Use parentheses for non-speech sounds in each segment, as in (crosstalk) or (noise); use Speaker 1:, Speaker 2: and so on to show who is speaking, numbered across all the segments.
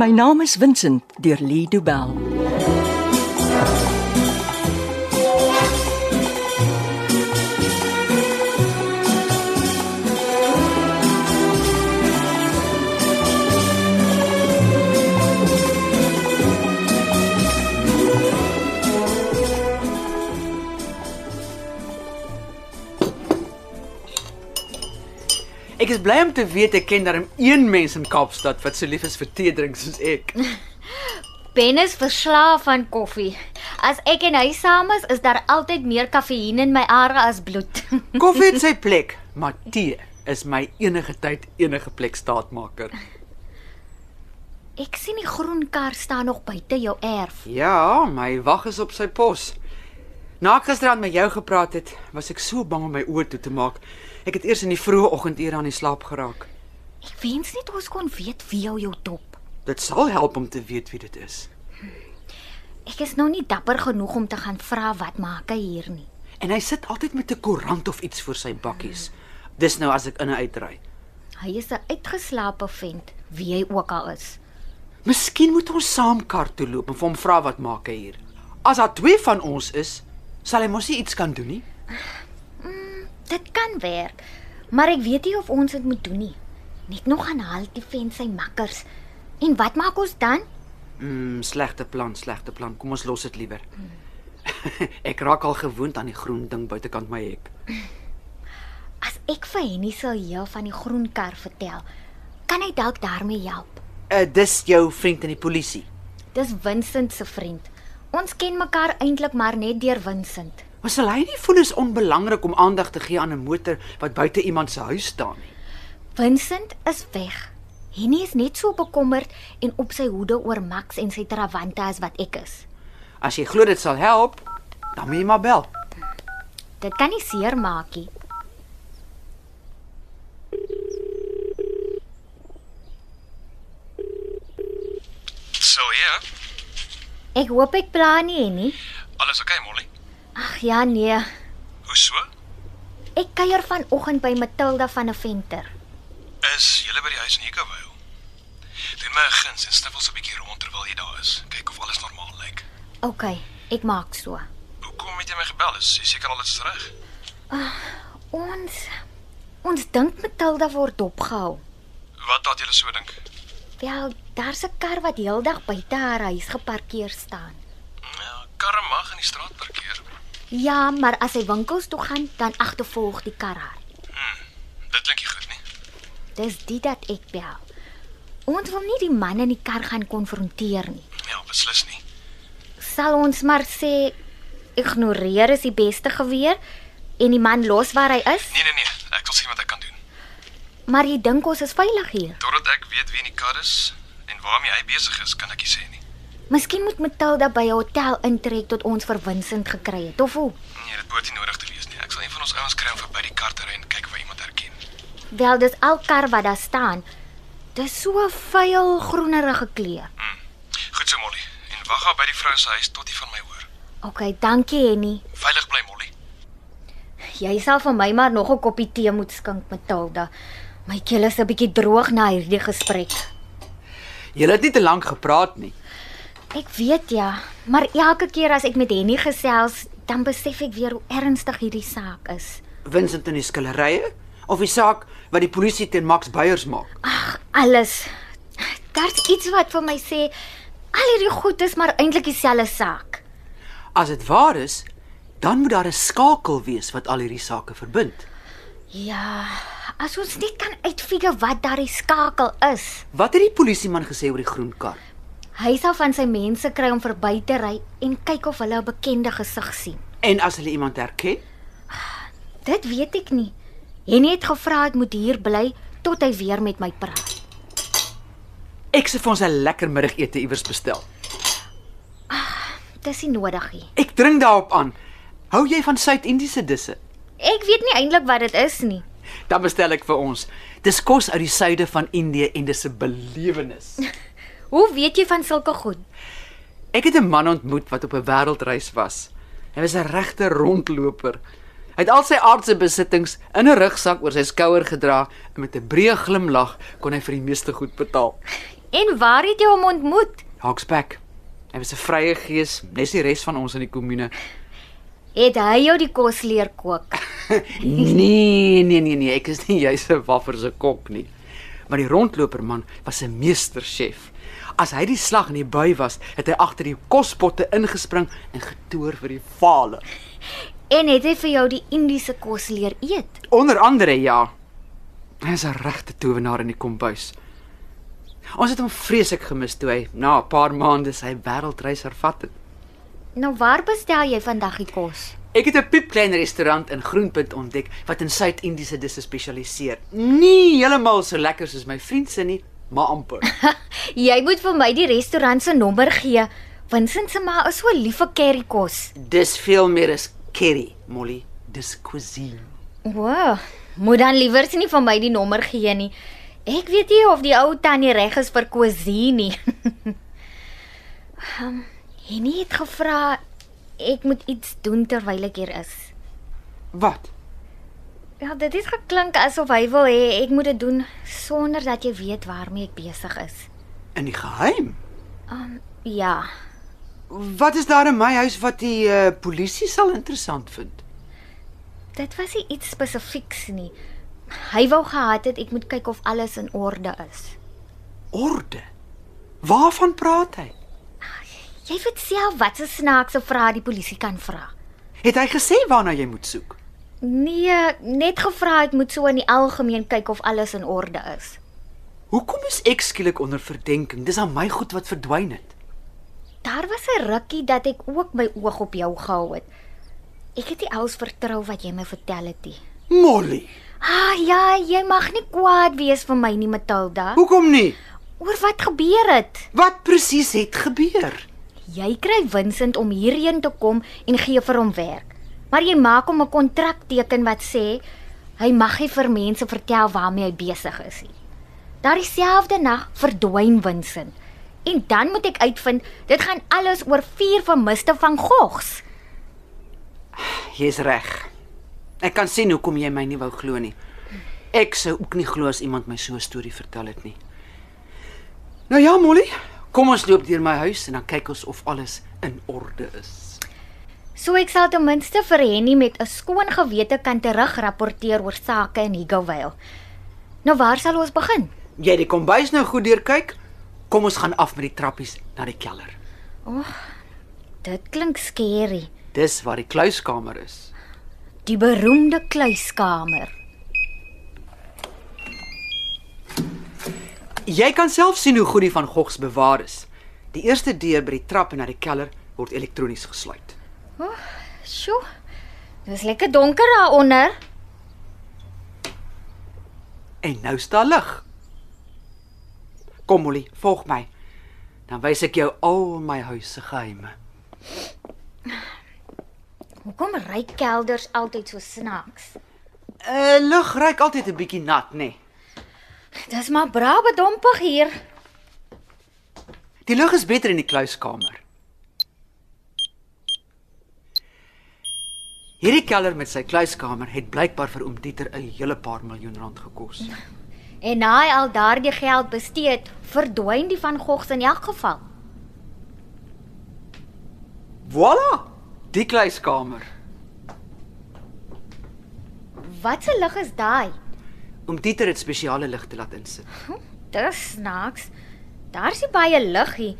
Speaker 1: My naam is Vincent deur Lee Du Bell.
Speaker 2: Ek is bly om te weet ek ken darm een mens in Kaapstad wat so lief is vir tee drink soos ek.
Speaker 3: Ben is verslaaf aan koffie. As ek en hy saam is, is daar altyd meer kafeïen in my are as bloed. (laughs)
Speaker 2: Koffie het sy plek, maar tee is my enige tyd enige plek staatmaker.
Speaker 3: ek sien die groen kar staan nog buite jou erf.
Speaker 2: Ja, my wag is op sy pos. Na ek gisterand met jou gepraat het, was ek so bang om my oë toe te maak. Ek het eers in die vroeë oggendure aan die slaap geraak.
Speaker 3: Ek wens net ons kon weet wie jou jou dop.
Speaker 2: Dit sal help om te weet wie dit is.
Speaker 3: Ek is nou nie dapper genoeg om te gaan vra wat maak hy hier nie.
Speaker 2: En hy sit altyd met 'n koerant of iets voor sy bakkies. Dis nou as ek in en uit ry.
Speaker 3: Hy is 'n uitgeslaapte vent, wie hy ook al is.
Speaker 2: Miskien moet ons saam kar toe loop en vir hom vra wat maak hy hier. As daar twee van ons is, sal hy mos nie iets kan doen nie.
Speaker 3: Dit kan werk, maar ek weet nie of ons dit moet doen nie. Net nog aan haal die vent sy makkers. En wat maak ons dan?
Speaker 2: Mm, slegte plan, slegte plan. Kom ons los dit liewer. (laughs) ek raak al gewoond aan die groen ding buitekant my hek.
Speaker 3: As ek vir Henny sal heel van die groen kar vertel, kan hy dalk daarmee help.
Speaker 2: Uh, dis jou vriend in die polisie.
Speaker 3: Dis Vincent se vriend. Ons ken mekaar eintlik maar net deur Vincent.
Speaker 2: Maar sal hy nie voel is onbelangrik om aandag te gee aan 'n motor wat buite iemand se huis staan nie?
Speaker 3: Vincent is weg. Henny is net so bekommerd en op sy hoede oor Max en sy trawante as wat ek is.
Speaker 2: As jy glo dit sal help, dan moet jy maar bel.
Speaker 3: Dit kan nie seer maak nie.
Speaker 4: So ja,
Speaker 3: Ek hoop ek pla nie Henny.
Speaker 4: alles oké, okay, Molly.
Speaker 3: Ag ja nee.
Speaker 4: Hoe so?
Speaker 3: Ek kuier vanoggend by Matilda van 'n venter.
Speaker 4: Is jy by die huis in Hekawil? Doen my 'n guns en sniffel so 'n bietjie rond terwyl jy daar is. Kyk of alles normaal lyk.
Speaker 3: OK, ek maak so.
Speaker 4: Hoekom het jy my gebel? Is jy seker alles is reg?
Speaker 3: Ons ons dink Matilda word dopgehou.
Speaker 4: Wat laat julle so dink?
Speaker 3: Wel, daar's 'n kar wat heeldag buite haar huis geparkeer staan.
Speaker 4: Nou, karre mag in die straat parkeer.
Speaker 3: Ja, maar as hy winkels toe gaan, dan agtervolg die kar haar.
Speaker 4: Dit klink nie goed nie.
Speaker 3: Dis dit dat ek bel. Ons wil nie die man in die kar gaan konfronteer nie.
Speaker 4: Ja, beslis nie.
Speaker 3: Sal ons maar sê ignoreer is die beste geweer en die man los waar hy is,
Speaker 4: Nee nee nee, ek sal sien wat ek kan doen.
Speaker 3: maar jy dink ons is veilig hier.
Speaker 4: Totdat ek weet wie in die kar is en waarmee hy besig is, kan ek nie sê nie.
Speaker 3: Miskien moet Matilda by 'n hotel intrek tot ons vir Vincent gekry het of hoe.
Speaker 4: Nee, dit behoort nie nodig te wees nie. Ek sal een van ons ouens kry om verby die kar te ry en kyk of hy iemand herken.
Speaker 3: Wel, dis al kar wat daar staan. Dis so 'n vuil groenerige kleur.
Speaker 4: Goed so Molly. En wag daar by die vrou se huis tot jy van my hoor.
Speaker 3: OK, dankie Henny.
Speaker 4: Veilig bly Molly.
Speaker 3: Jy sal vir my maar nog 'n koppie tee moet skink, Matilda. My keel is 'n bietjie droog na hierdie gesprek.
Speaker 2: Jy het nie te lank gepraat nie.
Speaker 3: Ek weet ja, maar elke keer as ek met Henny gesels, dan besef ek weer hoe ernstig hierdie saak is.
Speaker 2: Vincent in die skillerye of die saak wat die polisie teen Max Beyers maak.
Speaker 3: Ag, alles. Daar's iets wat vir my sê al hierdie goed is maar eintlik dieselfde saak.
Speaker 2: As dit waar is, dan moet daar 'n skakel wees wat al hierdie sake verbind.
Speaker 3: Ja, as ons net kan uitfigure wat daardie skakel is.
Speaker 2: Wat het die polisieman gesê oor die groen kar?
Speaker 3: Hy sal van sy mense kry om verby te ry en kyk of hulle 'n bekende gesig sien.
Speaker 2: En as hulle iemand herken?
Speaker 3: Dit weet ek nie. Henny het gevra ek moet hier bly tot hy weer met my praat.
Speaker 2: Ek se vir ons 'n lekker middagete iewers bestel.
Speaker 3: Dis nie nodig nie.
Speaker 2: Ek dring daarop aan. Hou jy van Suid-Indiese disse?
Speaker 3: Ek weet nie eintlik wat dit is nie.
Speaker 2: Dan bestel ek vir ons. Dis kos uit die suide van Indië en dis 'n belewenis.
Speaker 3: Hoe weet jy van sulke goed?
Speaker 2: Ek het 'n man ontmoet wat op 'n wêreldreis was. Hy was 'n regte rondloper. Hy het al sy aardse besittings in 'n rugsak oor sy skouer gedra en met 'n breë glimlag kon hy vir die meeste goed betaal.
Speaker 3: En waar het jy hom ontmoet?
Speaker 2: Hawksback. Hy was 'n vrye gees, nes die res van ons in die kommune.
Speaker 3: Het hy jou die kos leer kook?
Speaker 2: Nee, nee, nee, nee, ek is nie juis 'n waffer se kok nie. Maar die rondloperman was 'n meesterchef. As hy die slag in die bui was, het hy agter die kospotte ingespring en getoer vir die vale.
Speaker 3: En het hy vir jou die Indiese kos leer eet?
Speaker 2: Onder andere ja. Hy is 'n regte towenaar in die kombuis. Ons het hom vreeslik gemis toe hy na 'n paar maande sy wêreldreis hervat het.
Speaker 3: Nou waar bestel jy vandag die kos? (laughs)
Speaker 2: Ek het 'n piepklein restaurant in Groenpunt ontdek wat in Suid-Indiese disse spesialiseer. Nie heeltemal so lekker soos my vriend se nie, maar amper.
Speaker 3: Jy moet vir my die restaurant se nommer gee. Vincent se ma is so lief vir curry kos.
Speaker 2: Dis veel meer as curry, Molly. Dis cuisine.
Speaker 3: Wow, moet dan liewers nie vir my die nommer gee nie. Ek weet nie of die ou tannie reg is vir cuisine nie. (laughs) Ehm, Henny het gevra ek moet iets doen terwyl ek hier is.
Speaker 2: Wat?
Speaker 3: Ja, dit het geklink asof hy wil hê ek moet dit doen sonder dat jy weet waarmee ek besig is.
Speaker 2: In die geheim?
Speaker 3: Ja,
Speaker 2: Wat is daar in my huis wat die uh, polisie sal interessant vind?
Speaker 3: dit was nie iets spesifieks nie. Hy wou gehad het ek moet kyk of alles in orde is.
Speaker 2: Orde. Waarvan praat hy?
Speaker 3: Jy weet self wat se snaakse vrae die polisie kan vra.
Speaker 2: Het hy gesê waarna jy moet soek?
Speaker 3: Nee, net gevra het moet so in die algemeen kyk of alles in orde is.
Speaker 2: Hoekom is ek skielik onder verdenking? Dis aan my goed wat verdwyn het.
Speaker 3: Daar was 'n rukkie dat ek ook my oog op jou gehou het. Ek het nie alles vertrou wat jy my vertel het nie.
Speaker 2: Molly,
Speaker 3: Ah ja, jy mag nie kwaad wees vir my nie, Matilda.
Speaker 2: hoekom nie?
Speaker 3: Oor wat gebeur het?
Speaker 2: Wat presies het gebeur?
Speaker 3: Jy kry Vincent om hierheen te kom en gee vir hom werk. Maar jy maak hom 'n kontrak teken wat sê hy mag nie vir mense vertel waarmee hy besig is nie. Daardie selfde nag verdwyn Vincent. En dan moet ek uitvind, dit gaan alles oor vier vermiste van Gogs.
Speaker 2: Jy's reg. Ek kan sien hoekom jy my nie wou glo nie. Ek sou ook nie glo as iemand my so 'n storie vertel het nie. Nou ja, Molly, kom ons loop deur my huis en dan kyk ons of alles in orde is.
Speaker 3: So ek sal ten minste vir Henny met 'n skoon gewete kan terugrapporteer oor sake in Higgovale. Nou waar sal ons begin?
Speaker 2: Jy het die kombuis nou goed deurkyk. Kom ons gaan af met die trappies na die kelder.
Speaker 3: Dit klink skerry.
Speaker 2: Dis waar die kluiskamer is.
Speaker 3: Die beroemde kluiskamer.
Speaker 2: Jy kan self sien hoe goed die van Gogs bewaar is. Die eerste deur by die trap en na die kelder word elektronies gesluit.
Speaker 3: Sjoe. Dit is lekker donker daaronder.
Speaker 2: En nou is daar lig. Kom Molly, volg my. Dan wys ek jou al my huis se geheime.
Speaker 3: Hoekom ry kelders altyd so snaaks?
Speaker 2: Uh lug ruik altyd 'n bietjie nat, nê? Nee.
Speaker 3: Dis maar brawe dompig hier.
Speaker 2: Die lug is beter in die kluiskamer. Hierdie kelder met sy kluiskamer het blykbaar vir oom Dieter 'n hele paar miljoen rand gekos.
Speaker 3: En na hy al daardie geld bestee het, verdwyn die van Gogs in elk geval.
Speaker 2: Voilà, die kluiskamer.
Speaker 3: Wat se lig is daai?
Speaker 2: Oom Dieter het spesiale ligte laat insit.
Speaker 3: Dis snaaks. Daar's nie baie lig hier,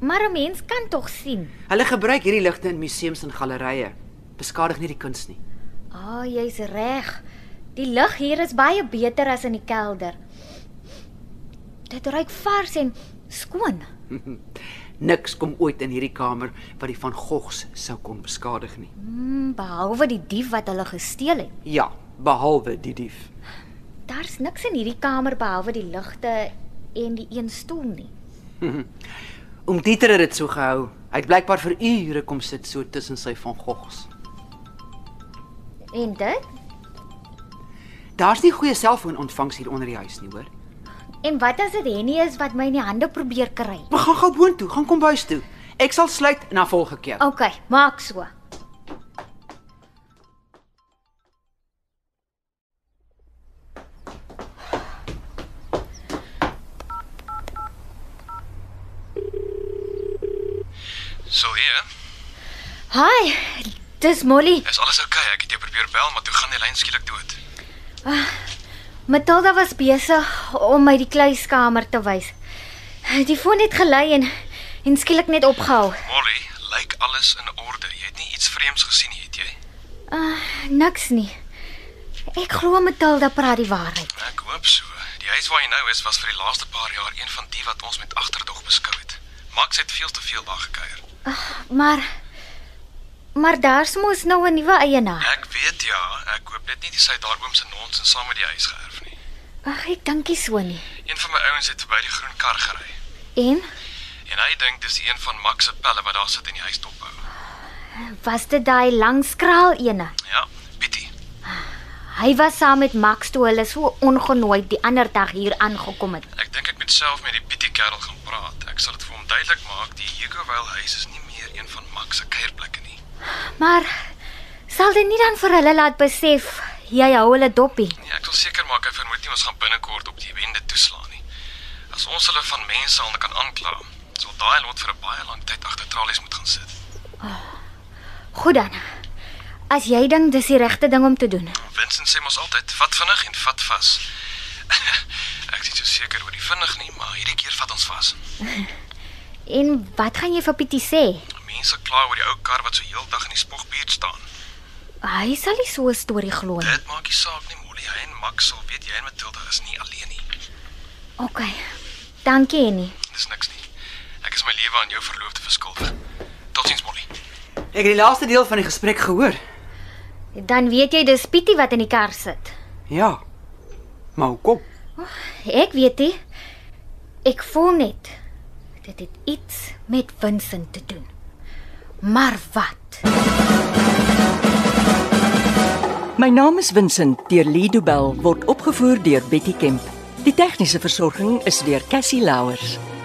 Speaker 3: maar 'n mens kan tog sien.
Speaker 2: Hulle gebruik hierdie ligte in museums en gallerye. Beskadig nie die kuns nie. (laughs)
Speaker 3: Ah, oh, jy's reg. Die lig hier is baie beter as in die kelder. Dit ruik vars en skoon.
Speaker 2: Niks kom ooit in hierdie kamer wat die van Gogs sou kon beskadig nie.
Speaker 3: Mm, behalwe die dief wat hulle gesteel het.
Speaker 2: Ja, behalwe die dief.
Speaker 3: Daar's niks in hierdie kamer behalwe die ligte en die een stoel nie.
Speaker 2: Oom Dieter het dit so gehou. Hy het blykbaar vir ure kom sit so tussen sy van Gogs.
Speaker 3: En dit?
Speaker 2: Daar's nie goeie selfoonontvangs hier onder die huis nie, hoor.
Speaker 3: En wat as dit Henny is wat my in die hande probeer kry?
Speaker 2: Maar gaan gou boontoe, gaan kom huis toe. Ek sal sluit en dan volg ek jou.
Speaker 3: OK, maak so.
Speaker 4: Silje,
Speaker 3: Hi, dis Molly.
Speaker 4: is alles oukei? Okay? Ek het jou probeer bel, maar toe gaan die lyn skielik dood.
Speaker 3: Matilda was besig om my die kluiskamer te wys. Die foon het gelei en en skielik net opgehou.
Speaker 4: Molly, lyk alles in orde? Jy het nie iets vreemds gesien nie, het jy?
Speaker 3: Uh, niks nie. Ek glo Matilda praat die waarheid.
Speaker 4: Ek hoop so. Die huis waar jy nou is was vir die laaste paar jaar een van die wat ons met agterdog beskou het. Max het veel te veel daar gekuier.
Speaker 3: Maar maar daar's mos nou 'n nuwe eienaar.
Speaker 4: Ek weet ja, ek hoop net nie dis hy daar ooms en ons en saam met die huis geërf nie.
Speaker 3: Ag, ek dink nie so nie.
Speaker 4: Een van my ouens het verby die groen kar gery
Speaker 3: En
Speaker 4: en hy dink dis die een van Max se pelle wat daar sit in die huis dophou.
Speaker 3: was dit daai lang skraal ene?
Speaker 4: Ja, Pietie.
Speaker 3: Hy was saam met Max toe hulle so ongenooi die ander dag hier aangekom het.
Speaker 4: Ek dink ek moet self met die Pietie kerel gaan praat. Ek sal dit vir hom duidelik maak die Hugovale huis is nie meer een van Max se kuierplekke nie.
Speaker 3: Maar sal dit nie dan vir hulle laat besef jy hou hulle dopie?
Speaker 4: Nee, ek wil seker maak hy vermoed nie ons gaan binnekort op die wende toeslaan nie. As ons hulle van mense aan kan aankla, sal daai lot vir 'n baie lang tyd agter tralies moet gaan sit.
Speaker 3: Goed dan. As jy dink dis die regte ding om te doen.
Speaker 4: Vincent sê mos altyd, vat vinnig en vat vas. (laughs) ek is nie so seker oor die vinnig nie, maar hierdie keer vat ons vas.
Speaker 3: En wat gaan jy vir Pietie sê?
Speaker 4: Mense kla oor die ou kar wat so heeldag in die spogbuurt staan.
Speaker 3: Hy sal nie so 'n storie glo nie.
Speaker 4: Dit maak nie saak nie, Molly, hy en Max sal weet jy en Matilda is nie alleen nie.
Speaker 3: OK. Dankie, Annie.
Speaker 4: Dis niks nie. Ek is my lewe aan jou verloofde verskuldig. Totsiens, Molly.
Speaker 2: Ek het die laaste deel van die gesprek gehoor.
Speaker 3: Dan weet jy dis Pietie wat in die kar sit.
Speaker 2: Ja. Maar hoekom?
Speaker 3: Ek weet nie. Ek voel net dit het iets met Vincent te doen. Maar wat?
Speaker 1: My naam is Vincent deur Lido Bell word opgevoer deur Betty Kemp. Die tegniese versorging is deur Cassie Louers.